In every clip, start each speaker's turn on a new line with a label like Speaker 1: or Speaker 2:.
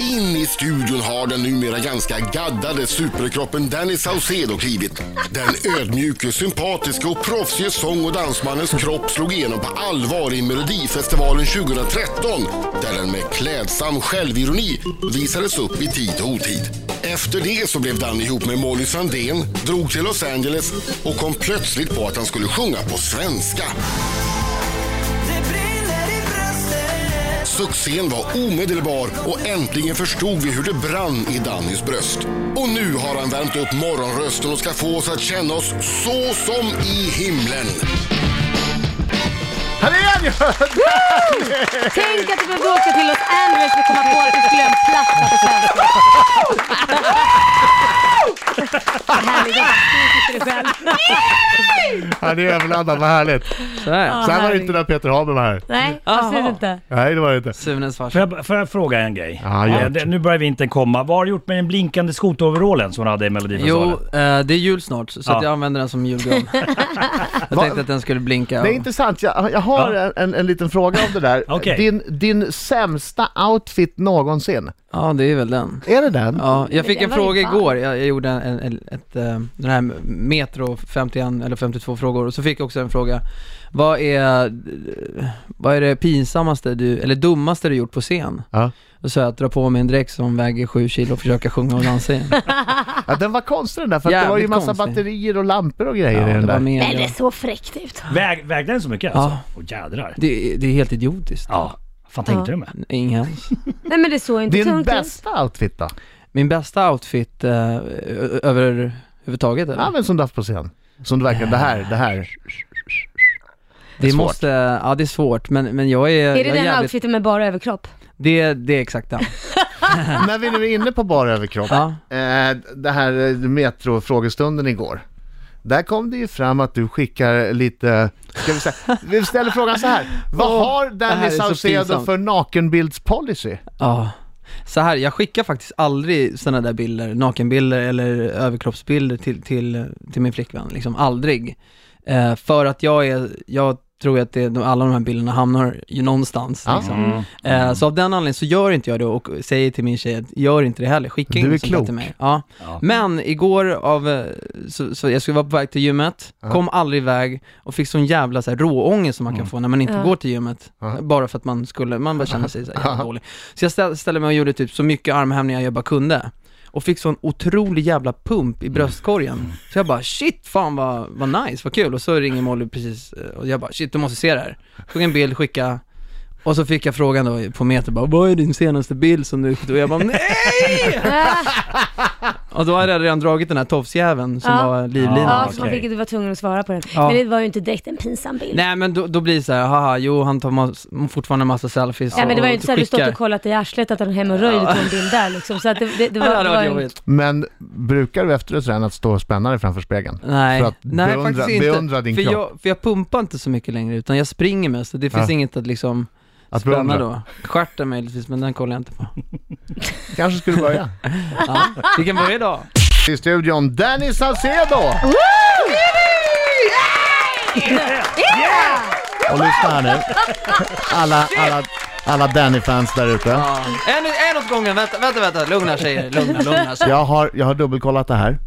Speaker 1: In i studion har den numera ganska gaddade superkroppen Danny Saucedo klivit. Den ödmjuke, sympatiske och proffsige sång och dansmannens kropp slog igenom på allvar i Melodifestivalen 2013 där den med klädsam självironi visades upp i tid och otid. Efter det så blev Danny ihop med Molly Sandén, drog till Los Angeles och kom plötsligt på att han skulle sjunga på svenska. Succén var omedelbar och äntligen förstod vi hur det brann i Dannys bröst. Och nu har han värmt upp morgonrösten och ska få oss att känna oss så som i himlen.
Speaker 2: Här är han ju!
Speaker 3: Tänk att du behövde åka till Los Angeles för att komma på att du skulle göra en platta på svenska. Härligt, jag tycker det själv.
Speaker 2: Han är överladdad, vad härligt.
Speaker 4: Sådär.
Speaker 2: Sen
Speaker 3: Ja,
Speaker 2: var det
Speaker 3: herregud.
Speaker 2: inte när Peter Haber var här.
Speaker 3: Nej, absolut inte.
Speaker 2: Nej, det var det inte.
Speaker 4: Sunes farsa.
Speaker 5: Får jag, får jag fråga en grej?
Speaker 2: Ja, gör
Speaker 5: Eh, det, nu börjar vintern komma. Vad har du gjort med den blinkande skoteroverallen som du hade i
Speaker 4: Jo,
Speaker 5: Melodifestivalen?
Speaker 4: eh, det är jul snart, så
Speaker 5: Ja.
Speaker 4: att jag använder den som julgran. jag tänkte att den skulle blinka.
Speaker 2: Det är intressant, jag, jag har
Speaker 5: Ja.
Speaker 2: en, en liten fråga om det där.
Speaker 5: Okej.
Speaker 2: din, din sämsta outfit någonsin,
Speaker 4: Ja, det är väl den.
Speaker 2: är det den?
Speaker 4: Ja, jag fick
Speaker 3: den
Speaker 4: en
Speaker 3: var
Speaker 4: fråga
Speaker 3: ju varm.
Speaker 4: igår, jag, jag gjorde en, en, ett, eh, den här Metro 51 eller 52 frågor, och så fick jag också en fråga. Vad är, vad är det pinsammaste du, eller dummaste du gjort på scen?
Speaker 2: Ja.
Speaker 4: Då sa jag att dra på mig en dräkt som väger 7 kilo och försöka sjunga och dansa igen.
Speaker 2: Ja, den var konstig den där, för att det var ju
Speaker 4: Jävligt
Speaker 2: massa
Speaker 4: konstig.
Speaker 2: batterier och lampor och
Speaker 4: Ja,
Speaker 2: grejer i
Speaker 4: det
Speaker 2: den
Speaker 4: var
Speaker 2: där.
Speaker 4: mer-
Speaker 3: Men det såg fräckt ut.
Speaker 5: Väg, vägde den så mycket alltså? Åh jädrar.
Speaker 4: det, det är helt idiotiskt.
Speaker 5: Ja. Fan tänkte du med?
Speaker 4: Ingen ens.
Speaker 3: Nej men det såg inte
Speaker 2: Din
Speaker 3: tungt ut.
Speaker 2: bästa outfit då?
Speaker 4: Min bästa outfit eh, ö- överhuvudtaget eller?
Speaker 2: Ja men som du haft på scen. Som du verkligen, det här, det här.
Speaker 4: det
Speaker 2: svårt.
Speaker 4: måste, ja det är svårt men, men jag är...
Speaker 3: Är
Speaker 4: jag
Speaker 3: det den
Speaker 4: jävligt-
Speaker 3: outfiten med bara överkropp?
Speaker 4: Det, det är exakt den.
Speaker 2: När vi nu är inne på bara överkropp.
Speaker 4: Ja.
Speaker 2: Eh, det här eh, metrofrågestunden igår. Där kom det ju fram att du skickar lite, ska vi säga, vi ställer frågan så här. Vad
Speaker 4: Åh,
Speaker 2: har
Speaker 4: det här
Speaker 2: Danny
Speaker 4: är så
Speaker 2: Saucedo
Speaker 4: pinsamt.
Speaker 2: för nakenbildspolicy?
Speaker 4: ja. Så här, jag skickar faktiskt aldrig sådana där bilder, nakenbilder eller överkroppsbilder till, till, till min flickvän. Liksom aldrig. Eh, för att jag är, jag tror att det, de- alla de här bilderna hamnar ju någonstans.
Speaker 2: Ja.
Speaker 4: Liksom.
Speaker 2: Mm.
Speaker 4: Eh, så av den anledningen så gör inte jag det och säger till min tjej att gör inte det heller, skicka
Speaker 2: Du är
Speaker 4: inte sånt där
Speaker 2: klok.
Speaker 4: till mig. Ja.
Speaker 5: Ja.
Speaker 4: Men igår av, eh, så, så jag skulle vara på väg till gymmet, kom aldrig iväg och fick sån jävla så här, råångest som man kan få när man inte
Speaker 3: Ja.
Speaker 4: går till gymmet.
Speaker 2: Mm. Ja.
Speaker 4: Bara för att man skulle, man bara känner sig så här, jävla dålig. Så jag ställ, ställde mig och gjorde typ så mycket armhävningar jag bara kunde. Och fick sån otrolig jävla pump i
Speaker 2: Mm.
Speaker 4: bröstkorgen. Så jag bara shit, fan vad, vad nice, vad kul. Och så ringer Molly precis eh, och jag bara shit, du måste se det här. Tog en bild, skicka och så fick jag frågan då på meter bara, vad är din senaste bild som du Och jag bara, nej! och då hade jag redan dragit den här tofsjäveln som
Speaker 3: Ja.
Speaker 4: var livlinan.
Speaker 3: Ja,
Speaker 5: okej.
Speaker 3: så man fick inte vara tvungen att svara på den.
Speaker 4: Ja.
Speaker 3: Men det var ju inte direkt en pinsam bild.
Speaker 4: Nej men då, då blir det så här, haha, jo han tar mas- fortfarande en massa selfies
Speaker 3: Ja, men det var ju inte så att du stått och
Speaker 4: skickar.
Speaker 3: kollat i arslet att han hemorrojder tog en bild där liksom. Så att det, det, det var,
Speaker 4: Ja, det hade varit
Speaker 3: ju-
Speaker 4: jobbigt.
Speaker 2: Men brukar du efter att träna att stå och spänna dig framför spegeln?
Speaker 4: Nej,
Speaker 2: För att
Speaker 4: nej
Speaker 2: beundra,
Speaker 4: faktiskt inte.
Speaker 2: beundra din
Speaker 4: för,
Speaker 2: kropp.
Speaker 4: jag, för jag pumpar inte så mycket längre utan jag springer mest, så det finns
Speaker 2: Ja.
Speaker 4: inget att liksom
Speaker 2: Att
Speaker 4: spänna
Speaker 2: beundra.
Speaker 4: då. Stjärten möjligtvis, men den kollar jag inte på.
Speaker 2: Kanske skulle du börja?
Speaker 4: Ja, vi kan börja idag.
Speaker 2: I studion, Danny Saucedo! Och lyssna här nu. Alla, alla, alla Danny-fans där ute.
Speaker 4: Ja. En, en åt gången, vänta, vänta, vänta, lugna tjejer, lugna, lugna. Så.
Speaker 2: Jag har, jag har dubbelkollat det här.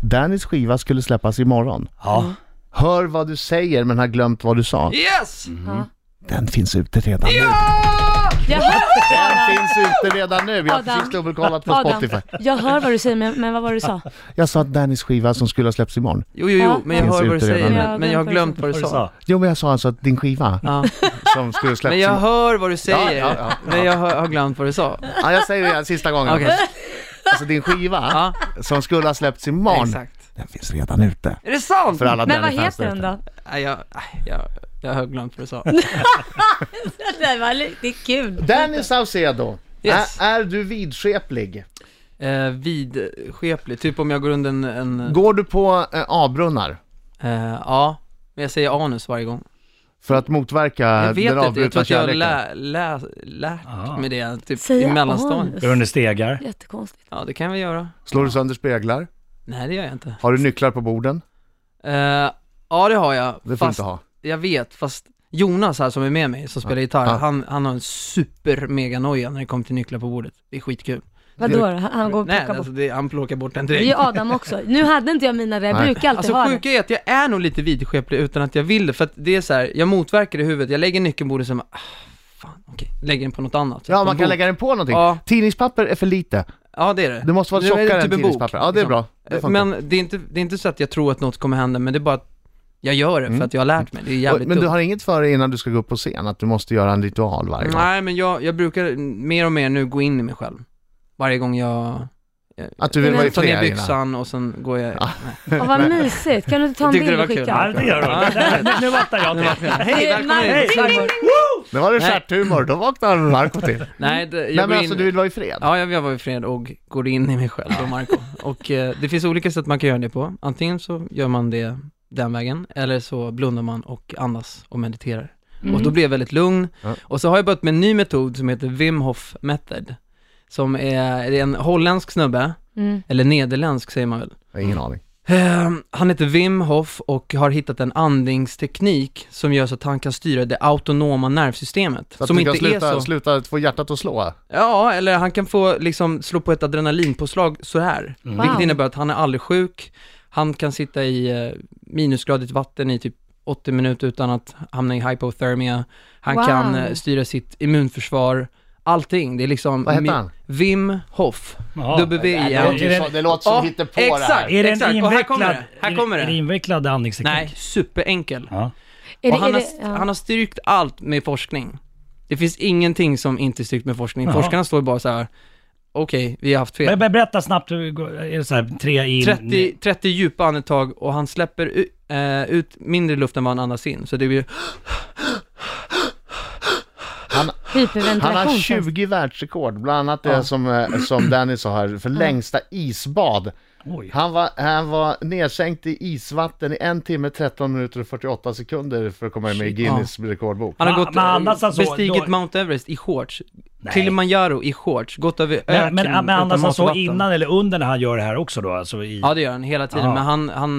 Speaker 2: Dannys skiva skulle släppas imorgon.
Speaker 5: Ja.
Speaker 2: Hör vad du säger men har glömt vad du sa.
Speaker 4: Yes!
Speaker 2: Mm. Den finns ute redan nu.
Speaker 3: Jag hör,
Speaker 2: Den finns ute redan nu. Jag har
Speaker 3: Adam.
Speaker 2: precis dubbelkollat på
Speaker 3: Adam,
Speaker 2: Spotify.
Speaker 3: jag hör vad du säger men, men vad var det du sa?
Speaker 2: Jag sa att Dannys skiva som skulle ha släppts imorgon.
Speaker 4: Jo, jo,
Speaker 3: Ja.
Speaker 4: jo, men jag
Speaker 2: Finns
Speaker 4: hör vad du
Speaker 2: ute
Speaker 4: säger,
Speaker 2: redan.
Speaker 4: men, men jag har glömt vad du
Speaker 5: Vad du
Speaker 4: sa.
Speaker 5: sa?
Speaker 2: Jo men jag sa alltså att din skiva
Speaker 4: Ja.
Speaker 2: som skulle släppas
Speaker 4: Men jag hör vad du
Speaker 2: Ja, ja,
Speaker 4: säger,
Speaker 2: ja, ja.
Speaker 4: men jag hör- har glömt vad du sa.
Speaker 2: Ja, jag säger det igen, sista gången.
Speaker 4: Okej,
Speaker 2: Alltså din skiva
Speaker 4: ja,
Speaker 2: som skulle ha släppts imorgon.
Speaker 4: exakt.
Speaker 2: Den finns redan ute.
Speaker 4: Är det sant?
Speaker 2: För alla
Speaker 3: Men vad
Speaker 2: Danny-fans
Speaker 3: heter
Speaker 2: där
Speaker 3: den
Speaker 2: ute.
Speaker 3: då?
Speaker 4: Nej, jag, nej, jag, jag har glömt vad du sa.
Speaker 3: Det, var, li- det är kul.
Speaker 2: Danny Saucedo.
Speaker 4: Yes.
Speaker 2: Är, är du vidskeplig?
Speaker 4: Eh, vidskeplig, typ om jag går under en... en
Speaker 2: Går du på eh, A-brunnar?
Speaker 4: eh, ja, men jag säger anus varje gång.
Speaker 2: För att motverka
Speaker 4: Jag
Speaker 2: Eh, den
Speaker 4: vet inte, jag tror
Speaker 2: avbrutna
Speaker 4: att jag har
Speaker 2: kärleken?
Speaker 4: lä, lä, lärt
Speaker 5: Ah.
Speaker 4: mig det typ i
Speaker 3: Säga
Speaker 4: mellanstadiet.
Speaker 3: anus.
Speaker 5: Under stegar.
Speaker 3: Jättekonstigt.
Speaker 4: Ja, det kan vi göra.
Speaker 2: Slår du sönder speglar?
Speaker 4: Nej, det gör jag inte.
Speaker 2: Har du nycklar på borden?
Speaker 4: Eh, ja, det har jag.
Speaker 2: Det får du
Speaker 4: fast
Speaker 2: inte ha.
Speaker 4: jag vet, fast Jonas här som är med mig, som spelar gitarr,
Speaker 2: Ja.
Speaker 4: han, han har en super mega noja när det kommer till nycklar på bordet. Det är skitkul.
Speaker 3: Vadå då? Han han går och
Speaker 4: Nej,
Speaker 3: plockar bort.
Speaker 4: alltså, det, han plockar bort den
Speaker 3: Det är
Speaker 4: direkt.
Speaker 3: ju Adam också. Nu hade inte jag mina där, jag
Speaker 2: Nej.
Speaker 3: brukar alltid
Speaker 4: Alltså
Speaker 3: ha
Speaker 4: sjuka är att jag är nog lite vidskeplig utan att jag vill det, för att det är så här, jag motverkar det i huvudet, jag lägger nyckeln på bordet som ah, fan, okej, lägger den på något annat.
Speaker 2: Ja,
Speaker 4: På en
Speaker 2: man kan
Speaker 4: bok.
Speaker 2: lägga den på någonting.
Speaker 4: Ja.
Speaker 2: Tidningspapper är för lite.
Speaker 4: Ja det är det.
Speaker 2: Det måste vara
Speaker 4: är typ
Speaker 2: tjockare än
Speaker 4: en bok,
Speaker 2: tidningspapper. Ja, det är
Speaker 4: liksom.
Speaker 2: bra. Det funkar.
Speaker 4: men det är, inte, det är inte så att jag tror att något kommer hända, men det är bara att jag gör det för att jag har lärt mig. Det är jävligt
Speaker 2: Mm. Och- men du
Speaker 4: dumt.
Speaker 2: har inget för dig innan du ska gå upp på scen, att du måste göra en ritual varje gång?
Speaker 4: Nej, men jag, jag brukar mer och mer nu gå in i mig själv. Varje gång jag...
Speaker 2: Att du vill vara i
Speaker 4: tar ner
Speaker 2: fred innan?
Speaker 4: byxan och sen går jag...
Speaker 2: Ja.
Speaker 4: Nej.
Speaker 3: det. Åh, vad mysigt. Kan du inte ta en
Speaker 4: Tyckte
Speaker 3: bild
Speaker 4: det
Speaker 3: och
Speaker 4: var kul.
Speaker 5: Ja,
Speaker 3: skicka?
Speaker 5: det gör
Speaker 4: Ja,
Speaker 5: hon. Nu fattar jag
Speaker 4: Nu vart
Speaker 5: det.
Speaker 4: jag-
Speaker 5: Hej!
Speaker 3: Det är
Speaker 4: välkommen
Speaker 3: Marco.
Speaker 4: hit.
Speaker 5: Hej!
Speaker 2: Det var det
Speaker 4: Nej.
Speaker 2: stjärthumor, då vaknade Marco till.
Speaker 4: Nej, det, jag
Speaker 2: Nej
Speaker 4: går
Speaker 2: men alltså
Speaker 4: in...
Speaker 2: du vill vara i fred?
Speaker 4: Ja, jag jag var i fred och går in i mig själv och Marco. Och eh, det finns olika sätt man kan göra det på. Antingen så gör man det den vägen, eller så blundar man och andas och mediterar.
Speaker 3: Mm.
Speaker 4: Och då blir jag väldigt lugn.
Speaker 2: Ja.
Speaker 4: Och så har jag börjat med en ny metod som heter Wim Hof method. Som är, det är en holländsk snubbe,
Speaker 3: Mm.
Speaker 4: eller nederländsk säger man väl.
Speaker 2: Jag har ingen aning.
Speaker 4: Eh, han heter Wim Hof och har hittat en andningsteknik som gör så att han kan styra det autonoma nervsystemet.
Speaker 2: Så att
Speaker 4: som
Speaker 2: du kan
Speaker 4: inte
Speaker 2: sluta,
Speaker 4: är så...
Speaker 2: sluta få hjärtat att slå?
Speaker 4: Ja, eller han kan få liksom slå på ett adrenalinpåslag så här.
Speaker 3: Wow.
Speaker 4: Vilket innebär att han är aldrig sjuk, han kan sitta i eh, minusgradigt vatten i typ 80 minuter utan att hamna i hypothermia. Han
Speaker 3: Wow.
Speaker 4: kan eh, styra sitt immunförsvar, allting. Det är liksom...
Speaker 2: Vad heter
Speaker 4: mi-
Speaker 2: han?
Speaker 4: Wim Hof.
Speaker 5: Ja.
Speaker 4: W-I-M.
Speaker 5: är det-
Speaker 2: Det låter som
Speaker 4: Ja,
Speaker 2: hittepå det
Speaker 4: Exakt,
Speaker 2: här.
Speaker 5: Är det
Speaker 4: exakt.
Speaker 5: en
Speaker 4: Och här
Speaker 5: invecklad,
Speaker 4: kommer det. Här kommer
Speaker 5: Är det
Speaker 4: det.
Speaker 5: invecklad andningsteknik?
Speaker 4: Nej, superenkel.
Speaker 5: Ja.
Speaker 3: Är det,
Speaker 4: Och han,
Speaker 3: är det,
Speaker 4: har, st-
Speaker 3: ja.
Speaker 4: han har styrkt allt med forskning. Det finns ingenting som inte är styrkt med forskning.
Speaker 5: Jaha.
Speaker 4: Forskarna står bara så här. okej, vi har haft fel.
Speaker 5: Men- men Berätta snabbt, hur går- är det så här tre in?
Speaker 4: 30, 30 djupa andetag och han släpper u- eh, ut mindre luft än vad han andas in. Så det blir,
Speaker 2: Han,
Speaker 3: Hyperventilation.
Speaker 2: han har
Speaker 3: känns det.
Speaker 2: 20 världsrekord, bland annat det
Speaker 4: Ja.
Speaker 2: som, eh, som Danny sa här, för längsta isbad.
Speaker 5: Oj.
Speaker 2: Han var, han var nedsänkt i isvatten i en timme, 13 minuter och 48 sekunder för att komma med i Guinness rekordbok.
Speaker 4: han har
Speaker 5: Ma-
Speaker 4: gått,
Speaker 5: men andas han så,
Speaker 4: bestigit
Speaker 5: då-
Speaker 4: Mount Everest i shorts,
Speaker 5: Nej.
Speaker 4: Kilimanjaro i shorts, gått över öken
Speaker 5: Men, men, men
Speaker 4: utan
Speaker 5: andas han
Speaker 4: mat och
Speaker 5: så
Speaker 4: vatten.
Speaker 5: innan eller under när han gör det här också då? Alltså i...
Speaker 4: Ja det gör han hela tiden,
Speaker 5: Ja.
Speaker 4: men han, han,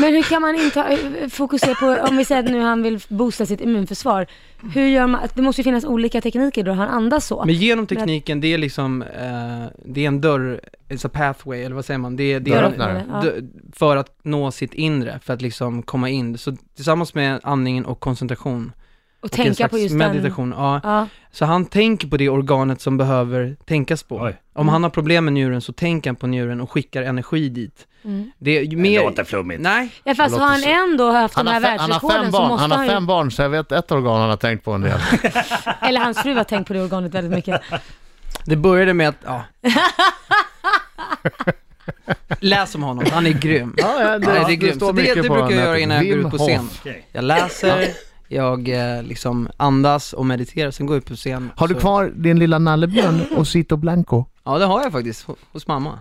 Speaker 3: Men hur kan man inte fokusera på, om vi säger att nu han vill boosta sitt immunförsvar. Hur gör man, det måste ju finnas olika tekniker då han andas så.
Speaker 4: men genom tekniken, det är liksom, eh, det är en dörr, it's a pathway, eller vad säger man? Det, är- det är en,
Speaker 2: Dörröppnare.
Speaker 3: Ja.
Speaker 4: d- för att nå sitt inre, för att liksom komma in. Så tillsammans med andningen och koncentration,
Speaker 3: och
Speaker 4: och en
Speaker 3: tänka
Speaker 4: slags
Speaker 3: på just
Speaker 4: meditation, ja,
Speaker 3: den. Ja.
Speaker 4: Så han tänker på det organet som behöver tänkas på.
Speaker 5: Oj.
Speaker 4: Om han har problem med njuren så tänker han på njuren och skickar energi dit.
Speaker 3: Mm.
Speaker 4: Det är ju mer...
Speaker 5: Det låter flummigt.
Speaker 4: Nej,
Speaker 3: I alla fall så
Speaker 2: Det
Speaker 3: har han
Speaker 2: låter
Speaker 3: ändå haft
Speaker 2: Han
Speaker 3: de här
Speaker 2: har, fe- han har
Speaker 3: världsrekorden
Speaker 2: fem
Speaker 3: så
Speaker 2: barn,
Speaker 3: måste
Speaker 2: han
Speaker 3: han
Speaker 2: har
Speaker 3: ju,
Speaker 2: fem barn så jag vet ett organ han har tänkt på en del.
Speaker 3: eller hans fru har tänkt på det organet väldigt mycket.
Speaker 4: det började med att, ja. Läs om honom, han är grym.
Speaker 2: Ja, ja,
Speaker 4: det, det är grymt. Så det, det brukar jag göra innan jag går ut på scen.
Speaker 5: Okej.
Speaker 4: Jag läser, jag eh, liksom andas och mediterar, sen går jag ut på scen.
Speaker 2: Har du
Speaker 4: Så-
Speaker 2: kvar din lilla nallebjörn och Sito Blanco?
Speaker 4: Ja, det har jag faktiskt, ho- hos mamma.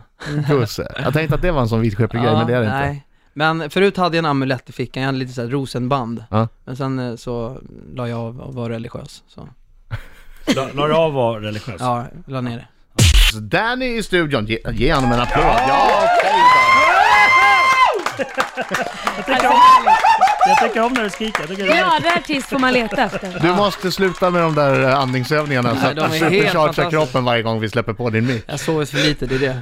Speaker 2: Gusse. Jag tänkte att det var en sån vidskeplig grej, men det är det inte.
Speaker 4: nej. Men förut hade jag en amulett i fickan, jag hade lite såhär rosenband.
Speaker 2: Ja.
Speaker 4: Men sen eh, så la jag av och var religiös. Så.
Speaker 5: La- La du av att vara religiös?
Speaker 4: Ja, la ner det.
Speaker 2: Så Danny i studion, ge, ge honom en applåd. Ja, okej då.
Speaker 5: Jag, tycker om,
Speaker 3: Alltså-
Speaker 5: jag tycker om när du skriker. Jag tycker det är härligt.
Speaker 3: Glada artist får man leta efter.
Speaker 2: Du måste sluta med de där eh, andningsövningarna så
Speaker 4: Nej,
Speaker 2: att
Speaker 4: de är
Speaker 2: du
Speaker 4: helt
Speaker 2: superchargear
Speaker 4: fantastiska.
Speaker 2: kroppen varje gång vi släpper på din mick.
Speaker 4: Jag sover för lite, det är det.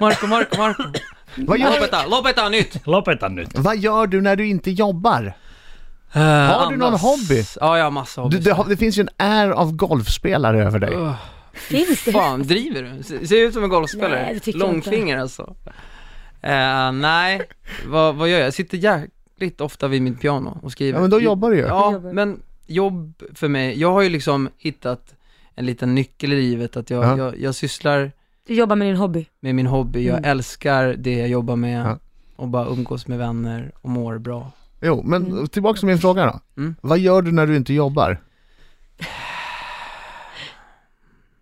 Speaker 4: Marco, Marco, Marco.
Speaker 2: Vad gör,
Speaker 4: Lopeta, lopeta, nytt!
Speaker 5: Lopeta nytt.
Speaker 2: vad gör du när du inte jobbar?
Speaker 4: Har
Speaker 2: du någon hobby?
Speaker 4: Ja, jag har massa
Speaker 2: Du,
Speaker 4: hobbys.
Speaker 2: det, har- det finns ju en är av golfspelare över dig.
Speaker 4: Öh,
Speaker 3: Finns det?
Speaker 4: Fan, driver du? Se- Ser ut som en golfspelare.
Speaker 3: Nej, det tycker jag inte.
Speaker 4: Långfinger alltså. Eh, nej, vad, vad gör jag? Jag sitter jäkligt ofta vid mitt piano och skriver.
Speaker 2: Ja, men då jobbar du ju.
Speaker 3: Då
Speaker 4: Ja,
Speaker 3: jobbar du.
Speaker 4: men jobb för mig, jag har ju liksom hittat en liten nyckel i livet att jag,
Speaker 2: Ja.
Speaker 4: jag, jag sysslar
Speaker 3: Du jobbar med din hobby.
Speaker 4: med min hobby, jag
Speaker 3: Mm.
Speaker 4: älskar det jag jobbar med
Speaker 2: Ja.
Speaker 4: och bara umgås med vänner och mår bra.
Speaker 2: Jo, men tillbaka till min fråga då.
Speaker 4: Mm.
Speaker 2: Vad gör du när du inte jobbar?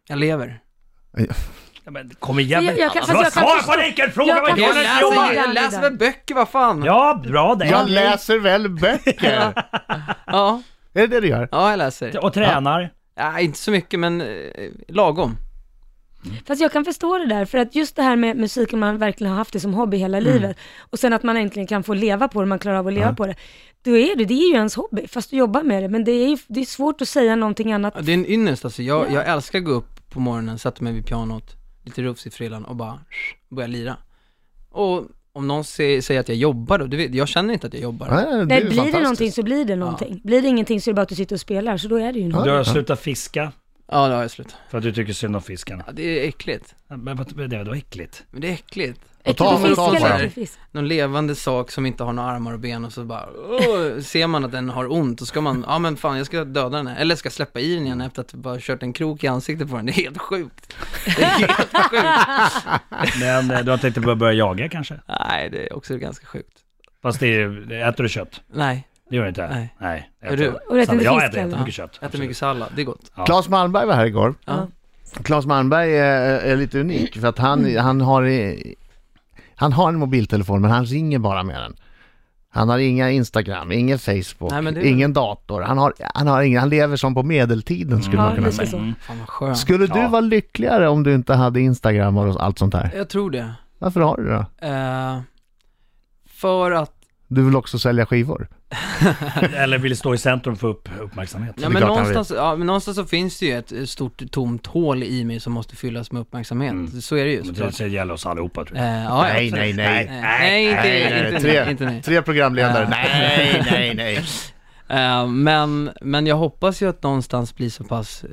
Speaker 4: Jag lever.
Speaker 5: Ja, men kom igen.
Speaker 3: Jag- jag kan- fast
Speaker 5: alltså, vad
Speaker 3: jag kan
Speaker 5: svar
Speaker 3: förstå-
Speaker 5: på en enkel fråga!
Speaker 3: jag
Speaker 5: Vad
Speaker 3: kan
Speaker 5: gör du
Speaker 4: Jag
Speaker 5: när du
Speaker 3: förstå-
Speaker 5: jobbar?
Speaker 4: läser,
Speaker 3: jobbar.
Speaker 4: jag läser väl böcker, vad fan?
Speaker 5: Ja, bra det.
Speaker 2: Jag läser väl böcker!
Speaker 4: ja,
Speaker 2: Är det det du gör?
Speaker 4: ja, jag läser.
Speaker 5: Och tränar.
Speaker 4: Nej, inte så mycket men eh, lagom.
Speaker 3: Fast jag kan förstå det där, för att just det här med musik, om man verkligen har haft det som hobby
Speaker 2: Mm.
Speaker 3: hela livet, och sen att man äntligen kan få leva på det, man klarar av att leva på det. Då är det, det är ju ens hobby, fast du jobbar med det. Men det är, ju- det är svårt att säga någonting annat.
Speaker 4: Ja, Det är en ynnest alltså. Jag, jag älskar att gå upp på morgonen, sätta mig vid pianot, lite rufs i frillan och bara börja lira. Och om någon se- säger att jag jobbar då, du vet, jag känner inte att jag jobbar.
Speaker 2: Nej, det är
Speaker 3: Nej,
Speaker 2: ju
Speaker 3: blir det
Speaker 2: fantastiskt.
Speaker 3: någonting så blir det någonting. Blir det ingenting så är det bara att du sitter och spelar, så då är det ju något.
Speaker 5: Du har slutat fiska
Speaker 4: Ja, det har jag slut.
Speaker 5: för att du tycker synd om fisken.
Speaker 4: Ja, det är äckligt.
Speaker 5: Men vad- det var då äckligt.
Speaker 4: Men det är äckligt.
Speaker 3: Äcklig
Speaker 2: ta-
Speaker 3: fisk
Speaker 2: ta-
Speaker 4: ta-
Speaker 3: eller äcklig fisk.
Speaker 4: Någon levande sak som inte har några armar och ben och så bara, "Åh", ser man att den har ont och ska man, ja men fan jag ska döda den här. Eller ska släppa i den igen efter att jag bara kört en krok i ansiktet på den. Det är helt sjukt. Det är helt sjukt.
Speaker 5: Men eh, du har tänkt att börja jaga kanske?
Speaker 4: Nej, det är också ganska sjukt.
Speaker 5: Fast det är, äter du kött?
Speaker 4: Nej,
Speaker 5: Det gör du inte?
Speaker 4: Nej.
Speaker 5: Nej.
Speaker 4: Är du-
Speaker 3: Och du äter inte
Speaker 5: jag
Speaker 3: fisk
Speaker 5: äter
Speaker 3: heller?
Speaker 5: jättemycket kött.
Speaker 4: äter mycket sallad, det är gott.
Speaker 5: Ja.
Speaker 2: Claes Malmberg var här igår.
Speaker 4: Ja.
Speaker 2: Claes Malmberg är, är lite unik för att han, han, har, eh, han har en mobiltelefon men han ringer bara med den. Han har inga Instagram, ingen Facebook,
Speaker 4: Nej, men det är-
Speaker 2: ingen dator. Han, har, han, har ingen, han lever som på medeltiden skulle man
Speaker 3: Ja,
Speaker 2: kunna
Speaker 3: lite
Speaker 2: säga.
Speaker 3: så.
Speaker 4: Fan vad skönt.
Speaker 2: Skulle du
Speaker 5: Ja.
Speaker 2: vara lyckligare om du inte hade Instagram och allt sånt där?
Speaker 4: Jag tror det.
Speaker 2: Varför har du det då?
Speaker 4: Eh, för att,
Speaker 2: Du vill också sälja skivor?
Speaker 5: Eller vill stå i centrum för upp, uppmärksamhet.
Speaker 4: ja,
Speaker 2: är
Speaker 4: men,
Speaker 2: klart han
Speaker 4: någonstans, ja, men någonstans så finns det ju ett stort tomt hål i mig som måste fyllas med uppmärksamhet.
Speaker 5: Mm.
Speaker 4: Så är det ju
Speaker 5: Men det,
Speaker 4: såklart.
Speaker 5: det gäller oss allihopa tror jag.
Speaker 4: Eh, ja,
Speaker 2: Nej,
Speaker 4: absolut.
Speaker 2: nej, nej.
Speaker 4: Nej, nej, inte,
Speaker 5: nej,
Speaker 4: inte, inte,
Speaker 2: tre,
Speaker 4: inte nej.
Speaker 2: tre programledare.
Speaker 4: Ja.
Speaker 2: Nej, nej, nej.
Speaker 4: Eh, men, men jag hoppas ju att någonstans bli så pass eh,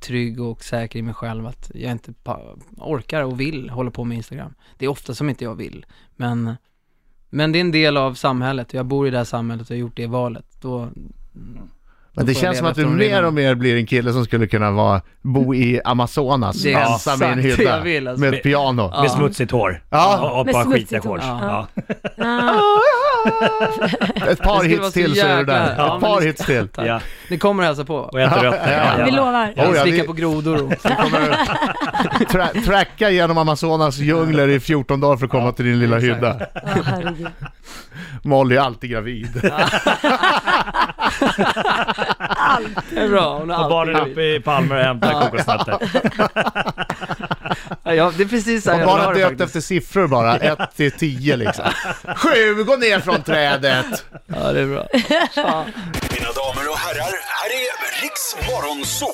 Speaker 4: trygg och säker i mig själv att jag inte pa- orkar och vill hålla på med Instagram. Det är ofta som inte jag vill, men, men det är en del av samhället och jag bor i det här samhället och har gjort det valet. Då,
Speaker 2: Men
Speaker 4: Då
Speaker 2: det
Speaker 4: får jag
Speaker 2: känns som
Speaker 4: leva
Speaker 2: att du
Speaker 4: efter de
Speaker 2: mer
Speaker 4: reglerna.
Speaker 2: och mer blir en kille som skulle kunna vara, bo i Amazonas
Speaker 4: Det är
Speaker 2: ensam i en
Speaker 4: exakt det
Speaker 2: hydda
Speaker 4: jag vill, alltså.
Speaker 2: med ett piano.
Speaker 5: Med
Speaker 4: Ja.
Speaker 5: smutsigt hår.
Speaker 2: Ja.
Speaker 5: Och, och
Speaker 3: Med
Speaker 5: bara
Speaker 3: smutsigt
Speaker 5: skitiga
Speaker 3: hår.
Speaker 5: shorts.
Speaker 4: Ja.
Speaker 5: Ja.
Speaker 3: Ah,
Speaker 2: Ett par
Speaker 4: Det skulle vara
Speaker 2: hits
Speaker 4: så
Speaker 2: till så är du
Speaker 4: jäkla-
Speaker 2: där.
Speaker 4: Ja,
Speaker 2: Ett
Speaker 4: men
Speaker 2: par
Speaker 4: det-
Speaker 2: hits till.
Speaker 5: Ja.
Speaker 4: Ni kommer och hälsa på.
Speaker 5: Och äter rötter. Ja, ja.
Speaker 3: vi lovar.
Speaker 2: Ja.
Speaker 4: Jag
Speaker 2: Oh,
Speaker 4: slicka
Speaker 2: vi-
Speaker 4: på grodor och...
Speaker 2: Du kommer tra- tracka genom Amazonas djungler i 14 dagar för att komma till din lilla
Speaker 4: exakt.
Speaker 2: hydda.
Speaker 3: Ja, herregud.
Speaker 2: Molly är alltid gravid.
Speaker 4: Det är bra, hon
Speaker 5: Och
Speaker 4: har
Speaker 5: barnen
Speaker 4: alltid
Speaker 5: uppe i Palmer och hämtar kokosnötter.
Speaker 4: Ja, ja, det är precis så här
Speaker 2: Hon
Speaker 4: jag
Speaker 2: bara
Speaker 4: har det
Speaker 2: döpt
Speaker 4: faktiskt.
Speaker 2: efter siffror bara, 1 till 10 liksom. 7, gå ner från trädet!
Speaker 4: Ja, det är bra.
Speaker 6: Mina damer och herrar, här är Riks Morgonzoo!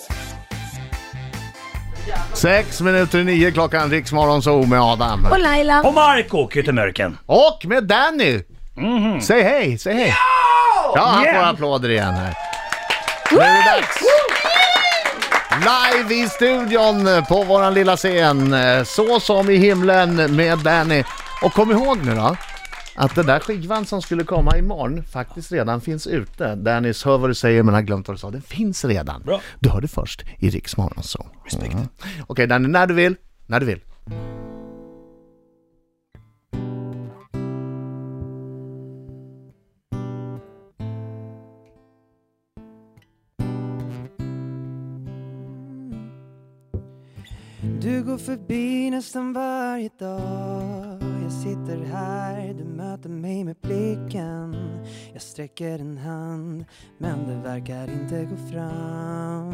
Speaker 2: Sex minuter i nio klockan, Riksmorgon så med Adam.
Speaker 3: Och Laila.
Speaker 5: Och Marco Kyttemörken.
Speaker 2: Och med Danny! Säg hej, säg hej! Mhm. Ja, han
Speaker 5: Yeah!
Speaker 2: får applåder igen här. Nu är det dags! Live i studion eh, på våran lilla scen, eh, så som i himlen med Danny. Och kom ihåg nu då, att den där skivan som skulle komma imorgon faktiskt redan finns ute. Dennis hör vad du säger men har glömt vad du sa. Den finns redan.
Speaker 5: Bra.
Speaker 2: Du hörde först i Riks Morgonzoo. Mm. Okej Danny, när du vill, när du vill.
Speaker 7: Du går förbi nästan varje dag Jag sitter här, du möter mig med blicken Jag sträcker en hand, men det verkar inte gå fram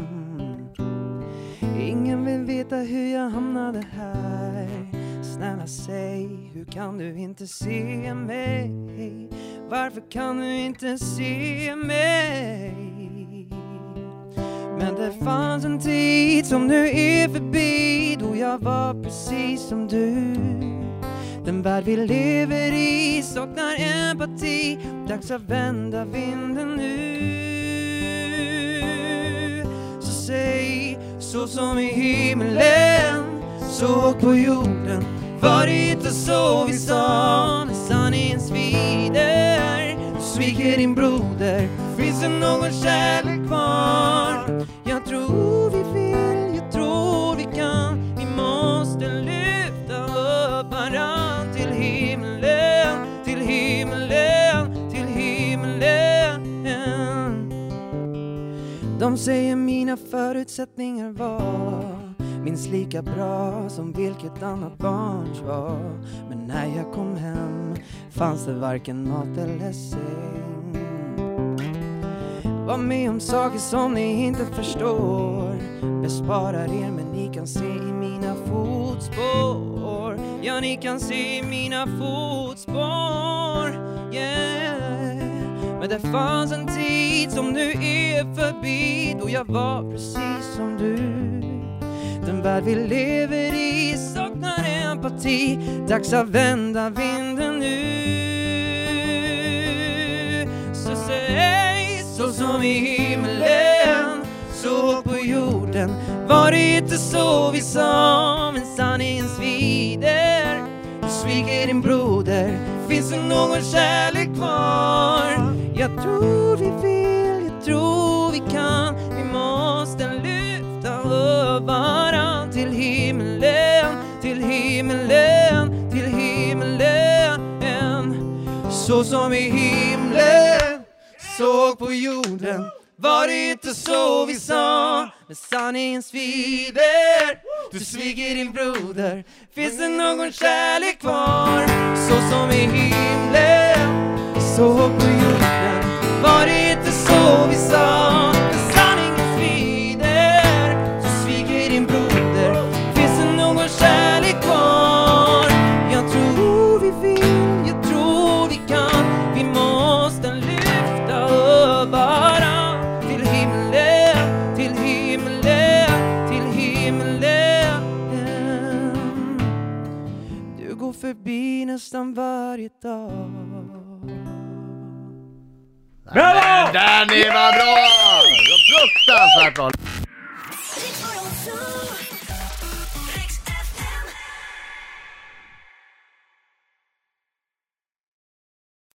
Speaker 7: Ingen vill veta hur jag hamnade här Snälla säg, hur kan du inte se mig? Varför kan du inte se mig? Men det fanns en tid som nu är förbi då jag var precis som du Den värld vi lever i saknar empati Dags att vända vinden nu Så säg så som i himlen så och på jorden var det inte så vi sa när sanningen svider Du sviker din broder Finns det någon kärlek kvar? Jag tror vi vill, jag tror vi kan Vi måste lyfta upp varann till himlen Till himlen, till himlen de säger mina förutsättningar var minst lika bra som vilket annat barns var. Men när jag kom hem fanns det varken mat eller säng.
Speaker 4: Var med om saker som ni inte förstår Besparar er men ni kan se i mina fotspår Ja, ni kan se i mina fotspår Yeah men det fanns en tid som nu är förbi då jag var precis som du Den värld vi lever i saknar empati Dags att vända vinden nu Så säg så som i himlen så på jorden var det inte så vi sa men sanningen svider Du sviker din broder Finns det någon kärlek kvar? Jag tror vi vill, jag tror vi kan Vi måste lyfta upp varann till himlen Till himlen, till himlen så som i himlen såg på jorden var det inte så vi sa, men sanningen svider Du sviker din broder, finns det någon kärlek kvar? Så som i himlen, såg på jorden Var det inte så vi sa, men sanningen svider Du sviker din broder, finns det någon kärlek kvar? Jag tror vi vill, jag tror vi kan Vi måste lyfta upp varann Till himlen, till himlen, till himlen Du går förbi nästan varje dag
Speaker 8: Bravo!
Speaker 2: Danny, vad bra! Det var Fruktansvärt bra!